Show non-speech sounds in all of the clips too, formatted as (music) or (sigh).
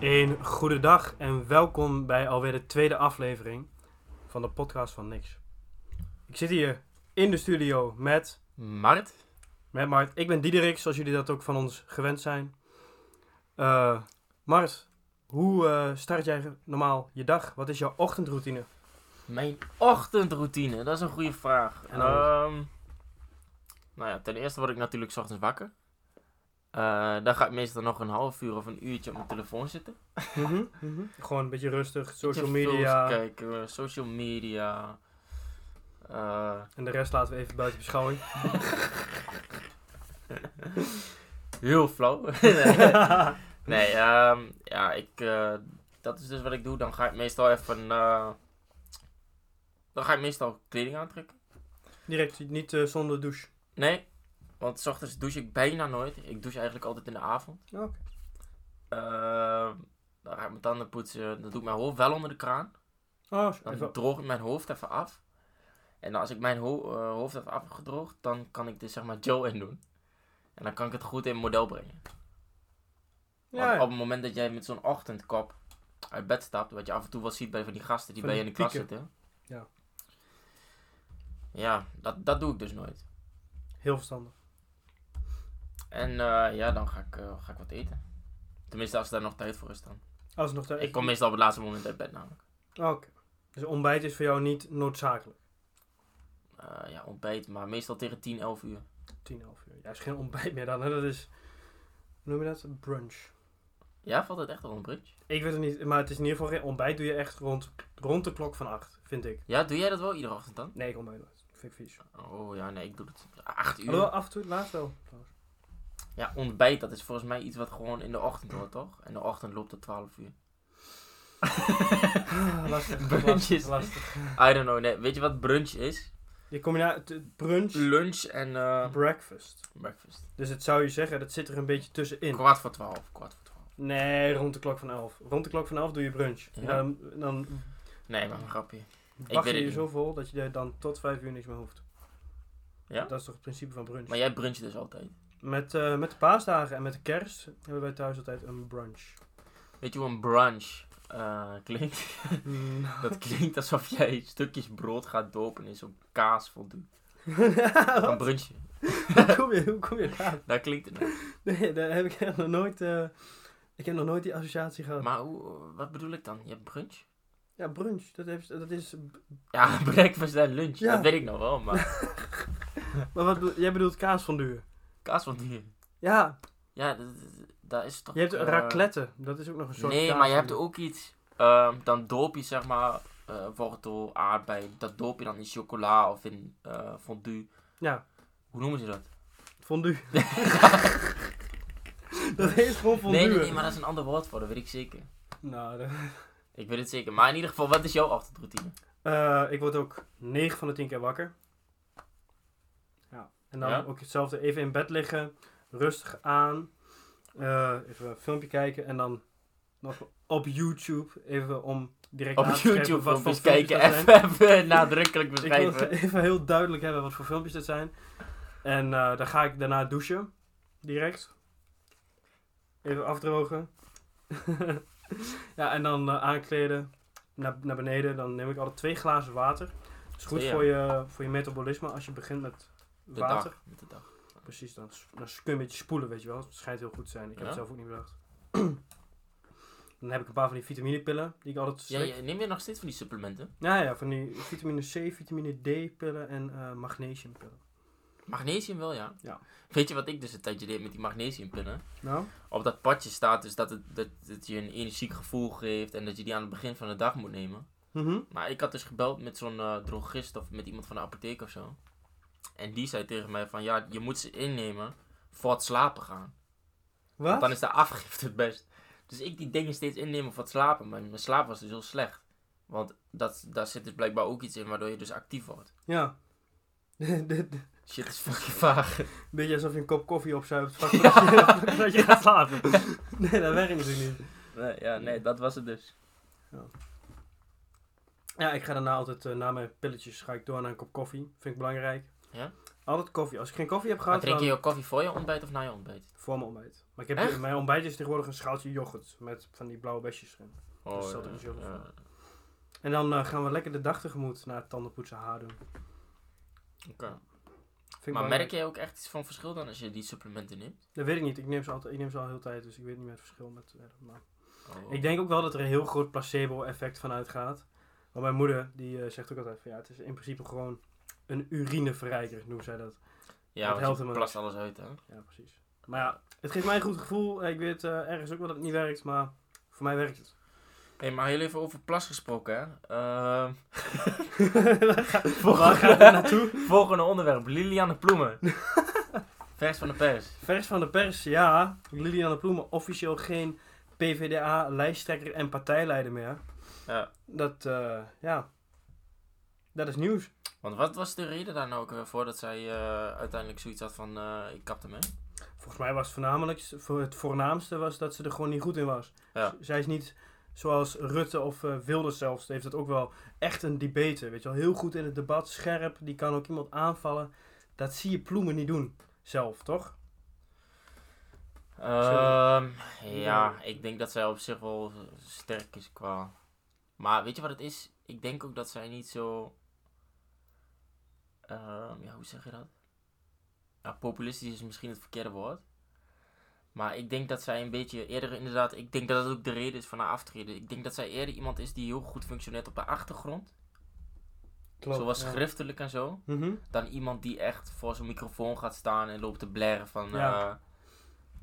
Een goede dag en welkom bij alweer de tweede aflevering van de podcast van Niks. Ik zit hier in de studio met, Mart? met Mart. Ik ben Diederik, zoals jullie dat ook van ons gewend zijn. Eh, Mart, hoe eh, start jij normaal je dag? Wat is jouw ochtendroutine? Mijn ochtendroutine, dat is een goede vraag. En dan? Ehm, nou ja, ten eerste word ik natuurlijk 's ochtends wakker. Eh, dan ga ik meestal nog een half uur of een uurtje op mijn telefoon zitten. Mhm, mhm. Gewoon een beetje rustig, social Even films media. Kijken, eh, social media. Eh, En de rest laten we even buiten beschouwing. heel flauw. (laughs) nee, ehm, ja, ik, eh, dat is dus wat ik doe. Dan ga ik meestal even. eh, dan ga ik meestal kleding aantrekken. Direct, niet eh, zonder douche. Nee, want s ochtends douche ik bijna nooit. Ik douche eigenlijk altijd in de avond. Oké. Ehm, dan ga ik mijn tanden poetsen. Dan doe ik mijn hoofd wel onder de kraan. Oh, Dan even- droog ik mijn hoofd even af. En als ik mijn ho- eh, hoofd even af heb gedroogd, dan kan ik dus zeg maar gel in doen. En dan kan ik het goed in model brengen. ja, Want op ja. het moment dat jij met zo'n ochtendkop uit bed stapt, wat je af en toe wel ziet bij van die gasten die Van bij je die in de klas pieken. zitten. Ja. Ja, dat, dat doe ik dus nooit. heel verstandig. En eh, ja, dan ga ik, eh, ga ik wat eten. Tenminste, als daar nog tijd voor is dan. Als het nog te- Ik kom meestal op het laatste moment uit bed namelijk. Oké. Dus ontbijt is voor jou niet noodzakelijk. Eh, ja, ontbijt, maar meestal tegen 10, 11 uur. 10, half uur. Ja, is geen ontbijt meer dan. Hè? Dat is, hoe noem je dat? Brunch. Ja, valt het echt wel een brunch? Ik weet het niet, maar het is in ieder geval geen ontbijt. Doe je echt rond, rond de klok van 8, vind ik. Ja, doe jij dat wel iedere ochtend dan? Nee, ik ontbijt nooit. Vind ik vies. Oh ja, nee, ik doe het 8 Alhoewel, uur. af en toe, laatst wel. trouwens. Ja, ontbijt, dat is volgens mij iets wat gewoon in de ochtend hoort, toch? En de ochtend loopt tot 12 uur. Ah, (laughs) lastig. Lastig, Brunches. lastig. I don't know, nee. Weet je wat brunch is? Je combinatie, brunch, Lunch en eh, breakfast. breakfast. Dus het zou je zeggen, dat zit er een beetje tussenin. Kwart voor 12, kwart voor 12. Nee, rond de klok van 11. Rond de klok van 11 doe je brunch. En Ja. dan, dan Nee, maar een grapje. wacht weet je het je niet. zo vol dat je daar dan tot 5 uur niks meer hoeft. Ja? Dat is toch het principe van brunch? Maar jij bruncht dus altijd. Met, eh, met de paasdagen en met de kerst hebben wij thuis altijd een (laughs) brunch. Weet je hoe een brunch eh, klinkt? (laughs) Dat klinkt alsof jij stukjes brood gaat dopen in zo'n (laughs) kaas voldoen. Oh, Een hoe, brunchje. kom je, (laughs) hoe kom je daar? Daar klinkt het naar. Nee, daar heb ik echt nog nooit, eh, ik heb nog nooit die associatie gehad. Maar hoe, wat bedoel ik dan? Je hebt brunch? Ja, brunch, dat, heeft, dat is... Ja, (laughs) breakfast en lunch. Ja. Dat weet ik nog wel, maar (laughs) Maar wat, bedoel- jij bedoelt kaasfondue. kaas van dieren. Ja, Ja, dat- dat- daar is toch... je hebt eh, raclette, dat is ook nog een soort Nee, maar je hebt ook iets... ehm, dan doop je zeg maar eh wortel, aardbei. Dat doop je dan in chocola of in eh, fondue. Ja, Hoe noemen ze (laughs) dat? fondue. (laughs) dat heet gewoon fondue. Nee, nee, nee, maar dat is een ander woord voor. Dat weet ik zeker. Nou, dat- Ik weet het zeker. Maar in ieder geval, wat is jouw ochtendroutine? Eh, ik word ook 9 van de 10 keer wakker. Ja. En dan Ja? ook hetzelfde. Even in bed liggen. Rustig aan. Eh, even een filmpje kijken. En dan nog op YouTube. Even om direct op aan te scherpen YouTube wat voor filmpjes filmpjes kijken. dat zijn. Even, even (laughs) nadrukkelijk Ik wil het beschrijven. (laughs) even heel duidelijk hebben wat voor filmpjes dat zijn. En eh, dan ga ik daarna douchen. Direct. Even afdrogen. (laughs) ja, en dan eh, aankleden. Naar, naar beneden. Dan neem ik altijd twee glazen water. Dat is goed Twee, ja. voor, je, voor je metabolisme als je begint met De water. dag. Met de dag. Precies, dan, s- dan kun je een beetje spoelen, weet je wel. Het schijnt heel goed te zijn. Ik heb Ja? het zelf ook niet bedacht. (clears throat) dan heb ik een paar van die vitaminepillen die ik altijd Ja, slik. je- neem je nog steeds van die supplementen? Ja, ja, van die vitamine C, vitamine D pillen en eh, magnesiumpillen. Magnesium wel, ja. Ja. Weet je wat ik dus een tijdje deed met die magnesiumpillen? Nou? Op dat padje staat dus dat het dat, dat je een energiek gevoel geeft en dat je die aan het begin van de dag moet nemen. Mhm. Maar ik had dus gebeld met zo'n eh, drogist of met iemand van de apotheek of zo. En die zei tegen mij van ja, je moet ze innemen voor het slapen gaan. Wat? Want dan is de afgifte (laughs) het best. Dus ik die dingen steeds innemen voor het slapen. Maar mijn slaap was dus heel slecht. Want dat, daar zit dus blijkbaar ook iets in waardoor je dus actief wordt. Ja. (laughs) Dit- dit- Shit is fucking vaag. Beetje alsof je een kop koffie (laughs) opzuipt vlak voordat je, voordat je gaat slapen. Nee, dat werkt natuurlijk niet. Nee, ja, nee, dat was het dus. Ja, ik ga daarna altijd eh, na mijn pilletjes ga ik door naar een kop koffie. Vind ik belangrijk. Ja? Altijd koffie. Als ik geen koffie heb Maar gehad, drink je dan je koffie voor je ontbijt of na je ontbijt? voor mijn ontbijt. Maar ik heb Echt? hier- mijn ontbijt is tegenwoordig een schaaltje yoghurt met van die blauwe besjes erin. Dat stelt er zelf Oh, ja. voor. En dan eh, gaan we lekker de dag tegemoet naar het tandenpoetsen haar doen. Oké. Vind ik Maar belangrijk. merk je ook echt iets van verschil dan als je die supplementen neemt? Dat weet ik niet. Ik neem ze, altijd, ik neem ze al heel de tijd, dus ik weet niet meer het verschil met... eh, maar- Oh. Ik denk ook wel dat er een heel groot placebo-effect van uitgaat. Want mijn moeder, die eh, zegt ook altijd van ja, het is in principe gewoon een urineverrijker, noemt zij dat. ja, dat want helpt je hem plast alles uit, hè? Ja, precies. Maar ja, het geeft mij een goed gevoel. Ik weet eh, ergens ook wel dat het niet werkt, maar voor mij werkt het. Hé, maar heel even over plas gesproken, hè? (laughs) Ehm, (laughs) Waar gaat het naartoe? volgende onderwerp, Liliane (laughs) Ploemen. Vers van de pers. Vers van de pers, ja. Liliane Ploemen, officieel geen PVDA-lijsttrekker en partijleider meer. Ja. Dat, eh, ja, dat is nieuws. Want wat was de reden daar nou ook weer voor dat zij eh, uiteindelijk zoiets had van, eh, ik kap ermee? Volgens mij was het voornamelijk, voor het voornaamste was dat ze er gewoon niet goed in was. Ja. Z- Zij is niet zoals Rutte of eh, Wilders zelfs, heeft dat ook wel echt een debater. Weet je wel, heel goed in het debat, scherp, die kan ook iemand aanvallen. Dat zie je ploemen niet doen, zelf, toch? Ehm, ja, Ja. ik denk dat zij op zich wel sterk is qua... Maar weet je wat het is? Ik denk ook dat zij niet zo... ehm, ja, hoe zeg je dat? Ja, populistisch is misschien het verkeerde woord. Maar ik denk dat zij een beetje eerder inderdaad... Ik denk dat dat ook de reden is van haar aftreden. Ik denk dat zij eerder iemand is die heel goed functioneert op haar achtergrond. zoals ja. schriftelijk en zo. Mhm. dan iemand die echt voor zo'n microfoon gaat staan en loopt te blaren van Ja. eh,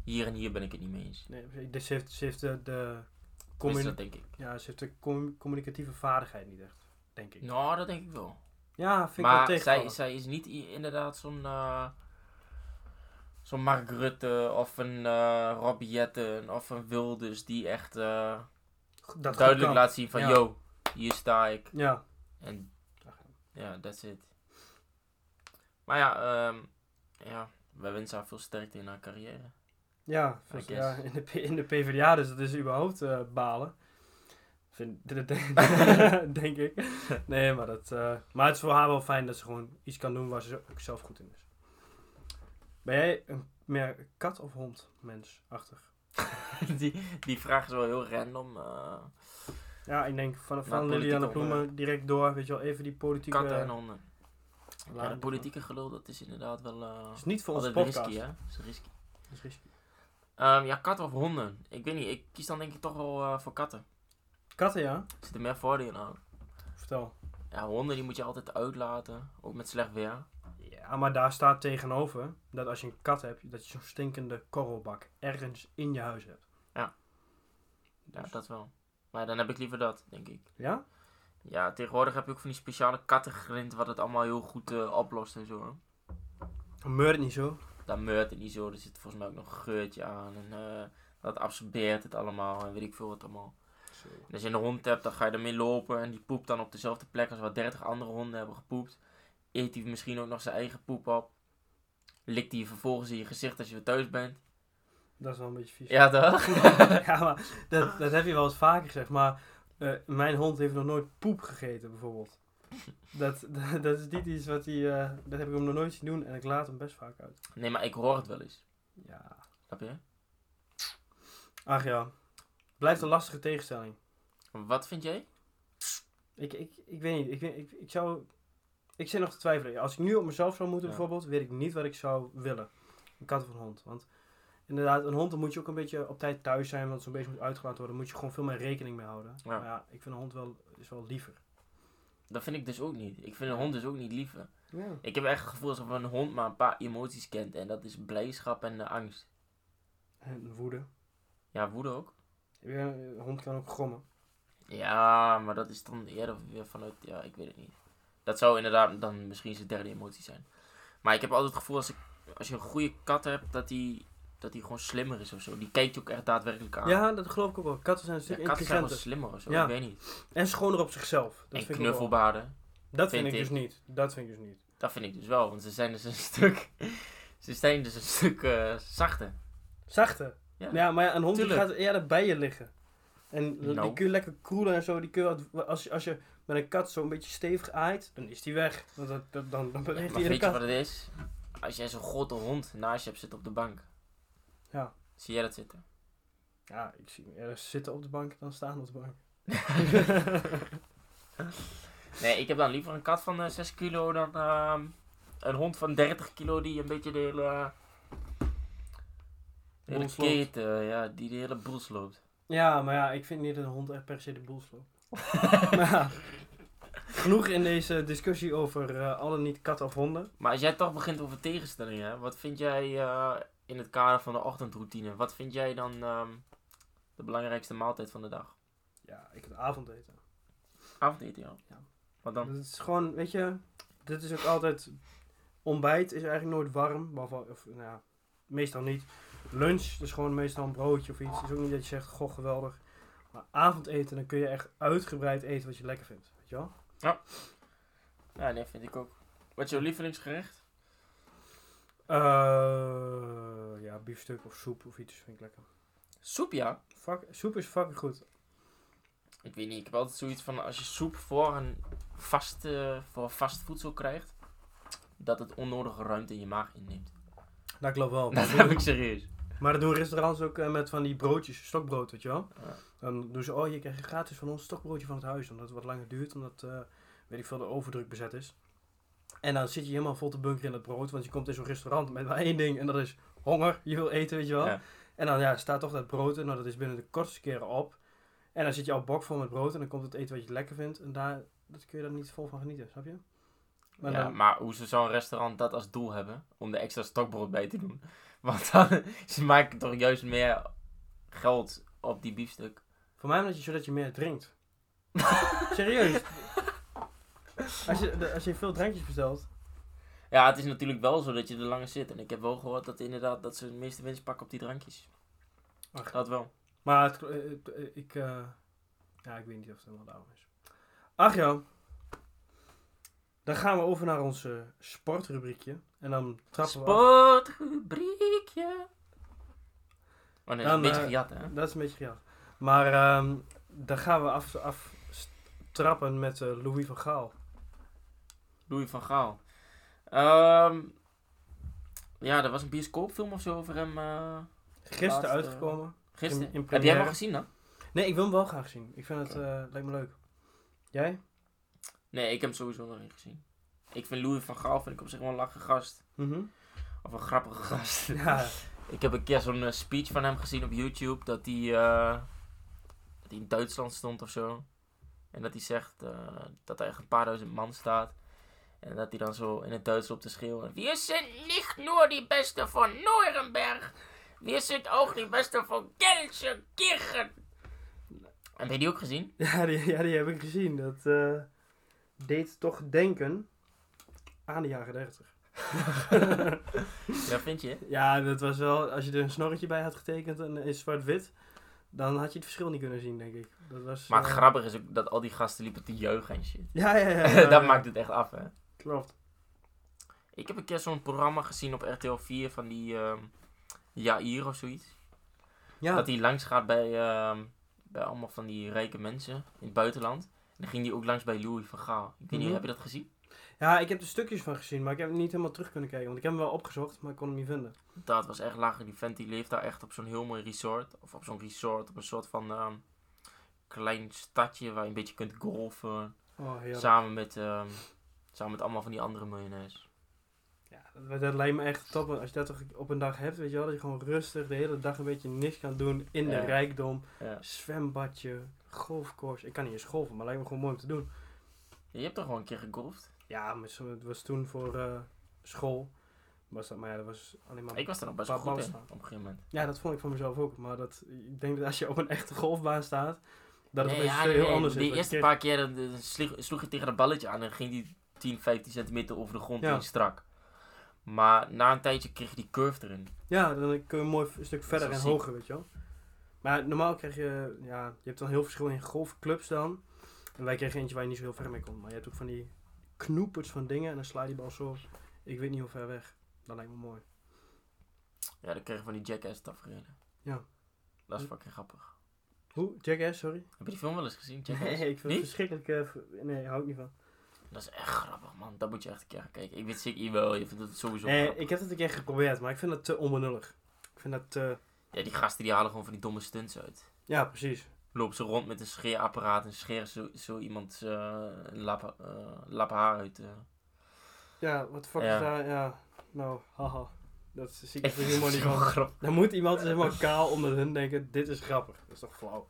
hier en hier ben ik het niet mee eens. Nee, dus ze heeft, ze heeft de, de, Tenminste, communi- Dus dat denk ik. ja, ze heeft de com- communicatieve vaardigheid niet echt, denk ik. Nou, dat denk ik wel. Ja, vind ik maar wel zij, tegenvallen. zij is niet i- inderdaad zo'n eh, zo'n Mark Rutte of een eh Robbie Jetten of een Wilders die echt eh, Goed, dat duidelijk goed kan. laat zien van Ja. yo, hier sta ik. Ja, En ja, that's it. Maar ja, ehm, ja, wij wensen haar veel sterkte in haar carrière. (laughs) Ja, I volgens- guess. ja in, de, P- in de PvdA, dus dat is überhaupt eh, balen. Vind, (laughs) dat denk, (laughs) denk ik. Nee, maar, dat, eh, maar het is voor haar wel fijn dat ze gewoon iets kan doen waar ze ook zelf goed in is. Ben jij een meer kat- of hond-mensachtig? die, die vraag is wel heel random. eh, Ja, ik denk van, Nou, van politieke Liliane onderwerp. Ploemen direct door, weet je wel, even die politieke... Katten en honden. Ja, laden. dat politieke gelul, dat is inderdaad wel... eh Dat is niet voor onze altijd podcast. risky, hè? Dat is risky. Dat is risky. Ehm, ja, katten of honden? Ik weet niet, ik kies dan denk ik toch wel eh, voor katten. Katten, ja? Er zitten meer voordelen aan. Vertel. Ja, honden die moet je altijd uitlaten. Ook met slecht weer. Ja, maar daar staat tegenover dat als je een kat hebt, dat je zo'n stinkende korrelbak ergens in je huis hebt. Ja, dat wel. Maar dan heb ik liever dat, denk ik. Ja? Ja, tegenwoordig heb je ook van die speciale kattengrind wat het allemaal heel goed eh, oplost en zo. hè. Dan meurt het niet zo. Dan meurt het niet zo, er zit volgens mij ook nog een geurtje aan. En eh, dat absorbeert het allemaal en weet ik veel wat allemaal. En als je een hond hebt, dan ga je ermee lopen en die poept dan op dezelfde plek als wat 30 andere honden hebben gepoept. Eet hij misschien ook nog zijn eigen poep op. Likt hij vervolgens in je gezicht als je weer thuis bent. Dat is wel een beetje vies. Ja, toch? (laughs) Ja, maar dat, dat heb je wel eens vaker gezegd. Maar eh, mijn hond heeft nog nooit poep gegeten, bijvoorbeeld. Dat, (laughs) dat, dat is niet iets wat hij... eh, dat heb ik hem nog nooit zien doen en ik laat hem best vaak uit. Nee, maar ik hoor het wel eens. Ja. Snap je? Ach ja. Blijft een lastige tegenstelling. Wat vind jij? Ik, ik, ik weet niet. Ik, weet- ik, ik zou... Ik zit nog te twijfelen. Als ik nu op mezelf zou moeten, Ja. bijvoorbeeld, weet ik niet wat ik zou willen. Een kat of een hond. Want inderdaad, een hond, dan moet je ook een beetje op tijd thuis zijn. Want zo'n beetje moet uitgelaten worden. Daar moet je gewoon veel meer rekening mee houden. Ja. Maar ja, ik vind een hond wel, is wel liever. Dat vind ik dus ook niet. Ik vind een hond dus ook niet liever. Ja. Ik heb echt het gevoel alsof een hond maar een paar emoties kent. En dat is blijdschap en eh, angst. En woede. Ja, woede ook. Ja, een hond kan ook grommen. Ja, maar dat is dan eerder weer vanuit. Ja, ik weet het niet. Dat zou inderdaad dan misschien zijn derde emotie zijn. Maar ik heb altijd het gevoel als, ik, als je een goede kat hebt, dat die, dat die gewoon slimmer is of zo. Die kijkt je ook echt daadwerkelijk aan. Ja, dat geloof ik ook wel. Katten zijn een Ja, stuk katten zijn dus wel intelligenter. slimmer of zo. Ja. Ik weet niet. En schoner op zichzelf. Dat en vind ik ook wel. knuffelbaarden. Dat vind, vind ik ik. dus niet. Dat vind ik dus niet. Dat vind ik dus wel, want ze zijn dus een (laughs) stuk. ze zijn dus een stuk eh, zachter. Zachte. Ja, Ja. maar ja, een hond die Tuurlijk. gaat eerder bij je liggen. En Nou. die kun je lekker kroelen en zo. Die kun je wat- als, je- als je met een kat zo'n beetje stevig aait, dan is die weg. Want dat, dat- dan, dan beweegt maar hij in de weet je kat. wat het is? Als jij zo'n grote hond naast je hebt zitten op de bank. Ja. Zie jij dat zitten? Ja, ik zie hem eerder zitten op de bank dan staan op de bank. Nee, ik heb dan liever een kat van eh, 6 kilo dan ehm, een hond van 30 kilo die een beetje de hele... eh, de hele Boel sloopt. keten, ja, die de hele boel sloopt. Ja, maar ja, ik vind niet dat een hond echt per se de boel (laughs) sloopt. maar ja, genoeg in deze discussie over eh, alle niet kat of honden. Maar als jij toch begint over tegenstellingen, hè, wat vind jij eh, in het kader van de ochtendroutine? Wat vind jij dan ehm, de belangrijkste maaltijd van de dag? Ja, ik het avondeten. Avondeten, ja. Ja. Wat dan? Het is gewoon, weet je, dit is ook altijd. Ontbijt is eigenlijk nooit warm, behalve, of nou ja, meestal niet. Lunch is gewoon meestal een broodje of iets. Het is ook niet dat je zegt, goh, geweldig. Maar avondeten, dan kun je echt uitgebreid eten wat je lekker vindt. Weet je wel? Ja, nee, vind ik ook. Wat is jouw lievelingsgerecht? Eh, ja, biefstuk of soep of iets vind ik lekker. Soep, ja. Fuck, soep is fucking goed. Ik weet niet, ik heb altijd zoiets van als je soep voor een vast, eh, voor vast voedsel krijgt, dat het onnodige ruimte in je maag inneemt. Oh, Dat klopt wel. (laughs) Dat heb ik serieus. Maar dat doen restaurants ook eh, met van die broodjes, stokbrood, weet je wel. Ja. Dan doen ze, oh, je krijgt gratis van ons stokbroodje van het huis. Omdat het wat langer duurt, omdat, eh, weet ik veel, de overdruk bezet is. En dan zit je helemaal vol te bunkeren in het brood. Want je komt in zo'n restaurant met maar één ding en dat is honger. Je wil eten, weet je wel. Ja. En dan ja, staat toch dat brood in. Nou, dat is binnen de kortste keren op. En dan zit je al bok vol met brood en dan komt het eten wat je lekker vindt. En daar dat kun je dan niet vol van genieten, snap je? Maar ja, dan- maar hoe ze zo'n restaurant dat als doel hebben, om de extra stokbrood bij te doen. (laughs) Want dan, ze maken toch juist meer geld op die biefstuk. Voor mij omdat je zodat je meer (laughs) drinkt. Serieus. Als je, de- als je veel drankjes bestelt. Ja, het is natuurlijk wel zo dat je er langer zit. En ik heb wel gehoord dat inderdaad dat ze de meeste winst pakken op die drankjes. Ach. Dat wel. Maar het, eh, het- eh, ik, eh, ja, ik weet niet of het helemaal daarom is. Ach ja. Dan gaan we over naar ons eh, sportrubriekje. En dan trappen we af. Sportrubriekje. Oh nee, dat is Dan, een beetje eh, gejat, hè? Dat is een beetje gejat. Maar ehm, dan gaan we af, af trappen met eh, Louis van Gaal. Louis van Gaal. Ehm, ja, er was een bioscoopfilm of zo over hem eh Gisteren Laatste- uitgekomen. gisteren. In- in heb jij hem première. al gezien dan? Nee, ik wil hem wel graag zien. Ik vind het, eh, lijkt me leuk. Jij? Nee, ik heb hem sowieso nog niet gezien. Ik vind Louis van Gaal vind ik op zich wel een lache gast. Mhm. Of een grappige gast. (laughs) Ja. Ik heb een keer zo'n eh, speech van hem gezien op YouTube. Dat hij, eh, dat hij in Duitsland stond of zo. En dat hij zegt eh, dat er echt een paar duizend man staat. En dat hij dan zo in het Duits op te schreeuwen. Wir sind nicht nur die beste van Nuremberg. Wir sind auch die beste van Gelsenkirchen. Heb je die ook gezien? (laughs) Ja die, ja, die heb ik gezien. Dat eh, deed toch denken aan de jaren 30. Ja, vind je? ja, dat was wel, als je er een snorretje bij had getekend en in zwart-wit, dan had je het verschil niet kunnen zien, denk ik. Dat was, Maar het eh, grappige is ook dat al die gasten liepen te juichen en shit. (laughs) Ja, ja, (laughs) ja. ja, Eh, dat ja. maakt het echt af, hè? Klopt. Ik heb een keer zo'n programma gezien op RTL 4 van die ehm Jair of zoiets. Ja, Dat hij langs gaat bij, ehm, bij allemaal van die rijke mensen in het buitenland. En dan ging hij ook langs bij Louis van Gaal. Ik weet Mhm. niet, heb je dat gezien? ja, ik heb er stukjes van gezien, maar ik heb het niet helemaal terug kunnen kijken. Want ik heb hem wel opgezocht, maar ik kon hem niet vinden. Dat was echt lager. Die vent die leeft daar echt op zo'n heel mooi resort. Of op zo'n resort, op een soort van ehm, klein stadje waar je een beetje kunt golfen. Oh, heerlijk. samen, met, ehm, samen met allemaal van die andere miljonairs. Ja, dat, dat lijkt me echt top. want Als je dat toch op een dag hebt, weet je wel, dat je gewoon rustig de hele dag een beetje niks kan doen in de Ja. rijkdom. Ja. Zwembadje, golfkoers. Ik kan niet eens golven, maar lijkt me gewoon mooi om te doen. Je hebt toch gewoon een keer gegolfd? Ja, maar zo- het was toen voor eh, school. Was dat, maar ja, dat was alleen maar... Ik was er nog best Waar wel goed in, ballen op een gegeven moment. Ja, dat vond ik van mezelf ook. Maar dat, ik denk dat als je op een echte golfbaan staat, dat het Nee, opeens ja, heel nee, nee. anders is. Die Want eerste je- paar keer dan, eh, sloeg, sloeg je tegen dat balletje aan en ging die 10, 15 centimeter over de grond Ja. in strak. Maar na een tijdje kreeg je die curve erin. Ja, dan kun je een mooi f- stuk verder wel en ziek. hoger, weet je wel. Maar normaal krijg je... Ja, je hebt dan heel verschil in golfclubs dan. En wij kregen eentje waar je niet zo heel ver mee kon. Maar je hebt ook van die knoepers van dingen en dan sla je die bal zo... Ik weet niet hoe ver weg. Dat lijkt me mooi. Ja, dan kreeg je van die jackass tafereelen. Ja. Dat is fucking grappig. Hoe? Jackass, sorry. Heb je die film wel eens gezien? Jackass? Nee, ik vind het dus- Niet? verschrikkelijk... eh, v- nee, hou ik niet van. Dat is echt grappig, man. Dat moet je echt een keer gaan kijken. Ik weet zeker, je wel. Je vindt het sowieso Nee, grappig. ik heb het een keer geprobeerd, maar ik vind dat te onbenullig. Ik vind dat te... Ja, die gasten die halen gewoon van die domme stunts uit. Ja, precies. Lopen ze rond met een scheerapparaat en scheren zo, zo iemand eh, een lap, eh, lap haar uit. eh. Ja, wat de fuck Ja. is daar? Ja, nou, haha. Dat zie ik Ik echt vind het helemaal niet (laughs) zo van. grappig. Dan moet iemand helemaal kaal omdat hun denken, dit is grappig. Dat is toch flauw?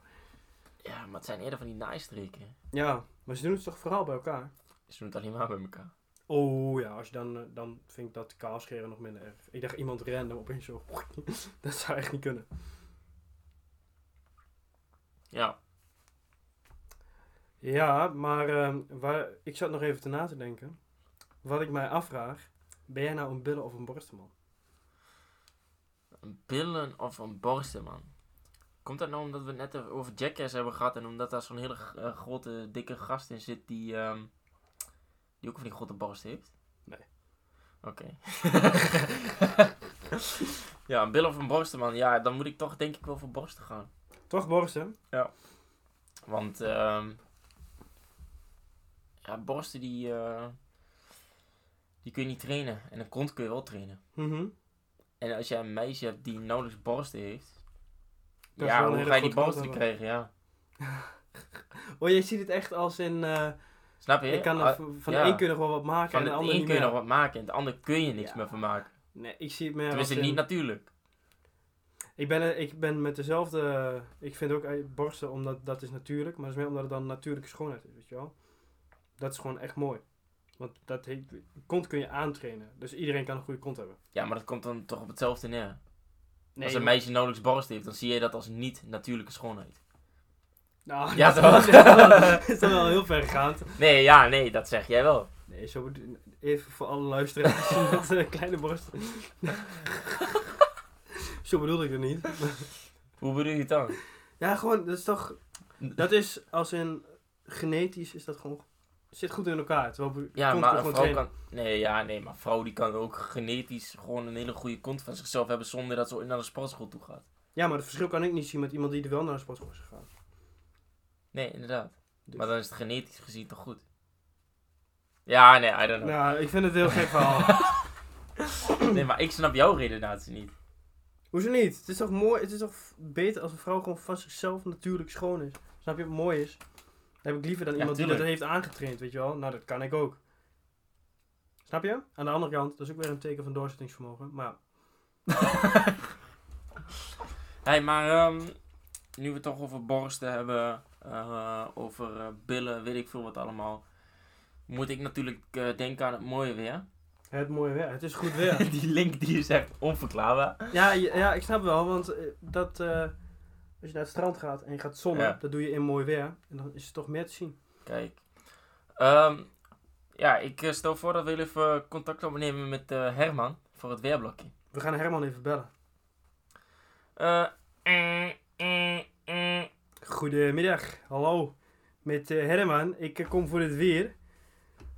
Ja, maar het zijn eerder van die naaistreken. Ja, maar ze doen het toch vooral bij elkaar? Ze doen het alleen maar bij elkaar. Oh ja, als je dan, eh, dan vind ik dat kaal scheren nog minder erg. Ik dacht iemand random opeens zo. (laughs) dat zou echt niet kunnen. Ja, Ja, maar ehm, waar, ik zat nog even te na te denken. Wat ik mij afvraag, ben jij nou een billen of een borstenman? een billen of een borsten, man. Komt dat nou omdat we het net over Jackass hebben gehad en omdat daar zo'n hele eh, grote, dikke gast in zit die, ehm, die ook van die grote borst heeft? Nee. Oké. (laughs) ja, een billen of een borsten, man. Ja, dan moet ik toch denk ik wel voor borsten gaan. Toch borsten? Want ehm ja, borsten die, eh, die kun je niet trainen. En een kont kun je wel trainen. Mhm. En als jij een meisje hebt die nauwelijks borsten heeft. Dan is wel ja, een hoe hele ga je die grote kont borsten hebben. krijgen? Ja. Oh, je ziet het echt als in. eh, Snap je? ik kan er Ah, v- van ja. de een kun je nog wel wat maken van en de de ander een niet kun je meer. nog wat maken en de ander kun je niks Ja. meer van maken. Nee, ik zie het meer als Tenminste, in- niet natuurlijk. Ik ben, ik ben met dezelfde. Ik vind ook eh, borsten, omdat dat is natuurlijk. Maar dat is meer omdat het dan natuurlijke schoonheid is, weet je wel. Dat is gewoon echt mooi. Want dat heet, kont kun je aantrainen. Dus iedereen kan een goede kont hebben. Ja, maar dat komt dan toch op hetzelfde neer. als een joh. meisje nauwelijks borsten heeft, dan zie je dat als niet natuurlijke schoonheid. Nou, Ja, dat toch? is (laughs) wel- is dan wel heel ver gaand. Nee, ja, nee, dat zeg jij wel. Nee, zo bedo- even voor alle (laughs) luisteraars met eh, kleine borsten. (laughs) zo bedoelde ik het niet. Hoe bedoel je het dan? Ja, gewoon, dat is toch. Dat is als in genetisch is dat gewoon. Zit goed in elkaar. Terwijl be- Ja, kont maar kan een gewoon vrouw trainen. kan. Nee, ja, nee, maar een vrouw die kan ook genetisch gewoon een hele goede kont van zichzelf hebben zonder dat ze naar de sportschool toe gaat. Ja, maar het verschil kan ik niet zien met iemand die er wel naar de sportschool is gegaan. Nee, inderdaad. Dus- Maar dan is het genetisch gezien toch goed. Ja, nee, I don't know. Nou, ik vind het een heel gek verhaal. Nee, maar ik snap jouw redenatie niet. Hoezo niet? Het is toch mooi, het is toch f- beter als een vrouw gewoon van zichzelf natuurlijk schoon is. Snap je wat mooi is? Dan heb ik liever dan Ja, iemand die dat tuurlijk. heeft aangetraind, weet je wel? Nou, dat kan ik ook. Snap je? Aan de andere kant, dat is ook weer een teken van doorzettingsvermogen. Maar Hé, hey, maar ehm, nu we het toch over borsten hebben, eh, over eh, billen, weet ik veel wat allemaal. Moet ik natuurlijk eh, denken aan het mooie weer. het mooie weer, het is goed weer. (laughs) Die link die is echt onverklaarbaar. Ja, je- ja, ik snap wel, want eh, dat, eh, als je naar het strand gaat en je gaat zonnen, Ja. dat doe je in mooi weer. En dan is het toch meer te zien. Kijk. Ehm, ja, ik eh, stel voor dat we heel even contact opnemen met eh, Herman voor het weerblokje. We gaan Herman even bellen. Eh, eh, eh, eh. Goedemiddag, hallo. Met eh, Herman, ik eh, kom voor het weer.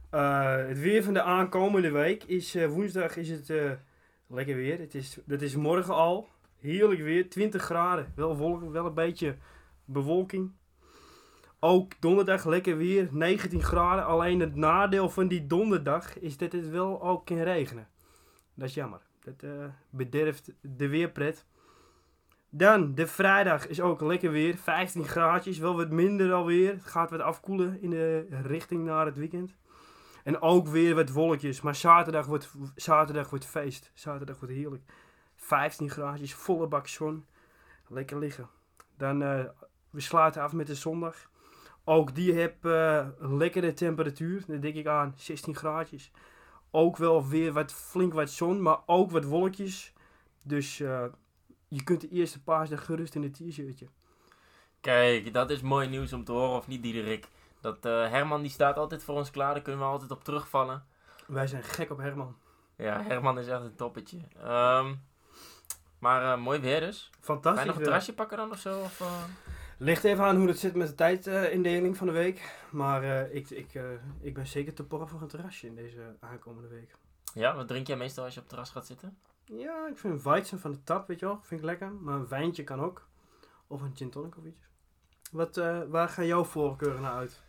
Eh, het weer van de aankomende week is eh, woensdag is het eh, lekker weer. Het is, dat is morgen al. Heerlijk weer, 20 graden. Wel wolken, wel een beetje bewolking. Ook donderdag lekker weer, 19 graden. Alleen het nadeel van die donderdag is dat het wel ook kan regenen. Dat is jammer. Dat eh, bederft de weerpret. Dan, de vrijdag is ook lekker weer. 15 graadjes, wel wat minder alweer. Het gaat wat afkoelen in de richting naar het weekend. En ook weer wat wolkjes. Maar zaterdag wordt, zaterdag wordt feest. Zaterdag wordt heerlijk. 15 graadjes, volle bak zon. Lekker liggen. Dan, eh, we sluiten af met de zondag. Ook die heb eh, lekkere temperatuur. Dan denk ik aan 16 graadjes. Ook wel weer wat flink wat zon, maar ook wat wolkjes. Dus eh, je kunt de eerste paasdag gerust in een t-shirtje. Kijk, dat is mooi nieuws om te horen, of niet, Diederik? Dat eh, Herman die staat altijd voor ons klaar, daar kunnen we altijd op terugvallen. Wij zijn gek op Herman. Ja, Herman is echt een toppetje. Ehm, maar eh, mooi weer dus. Fantastisch. Ga je nog een weer. terrasje pakken dan of zo? Of, eh? Ligt even aan hoe het zit met de tijdindeling van de week. Maar eh, ik, ik, eh, ik ben zeker te porren voor een terrasje in deze aankomende week. Ja, wat drink jij meestal als je op het terras gaat zitten? Ja, ik vind Weizen van de tap, weet je wel. Vind ik lekker. Maar een wijntje kan ook. Of een gin tonic of iets. Wat, eh, waar gaan jouw voorkeuren naar uit?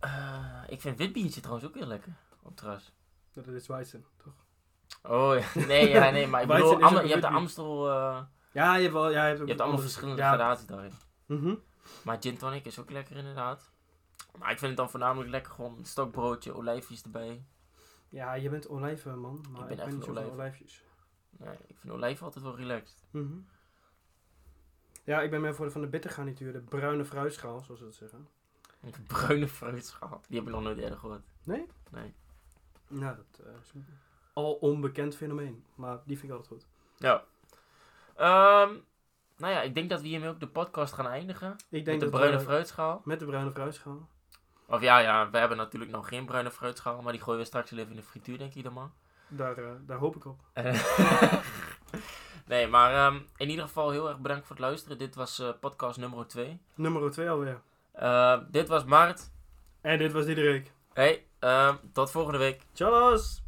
Eh, ik vind wit biertje trouwens ook heel lekker. Op het terras. Dat is Weizen, toch? Oh ja. (laughs) Nee, ja, nee, maar ik Weizen bedoel, is ook Am- een je hebt wit de bier. Amstel. eh, Ja, je hebt, wel, ja, je hebt, ook je hebt allemaal andere- verschillende ja. gradaties daarin. Mhm. Maar gin tonic is ook lekker inderdaad. Maar ik vind het dan voornamelijk lekker gewoon een stokbroodje, olijfjes erbij. Ja, je bent olijven, man. Maar ben ik echt ben niet zo een van olijf. olijfjes. Nee, ik vind olijven altijd wel relaxed. Mhm. Ja, ik ben meer voor de van de bittergarnituur. De bruine fruitschaal, zoals ze dat zeggen. Een bruine fruitschaal. Die heb ik nog nooit eerder gehoord. Nou, dat eh, is een al onbekend fenomeen. Maar die vind ik altijd goed. Ja. Ehm, nou ja, ik denk dat we hiermee ook de podcast gaan eindigen. Ik denk Met de dat eh, bruine we- fruitschaal. Met de bruine fruitschaal. Of ja, ja, we hebben natuurlijk nog geen bruine fruitschaal. Maar die gooien we straks wel even in de frituur, denk ik dan (laughs) maar. Daar, eh, daar hoop ik op. nee, maar ehm, in ieder geval heel erg bedankt voor het luisteren. Dit was eh, podcast nummer 2. Nummer 2 alweer. dit was Maart. En dit was Diederik. Hey, ehm, tot volgende week. Tjallas!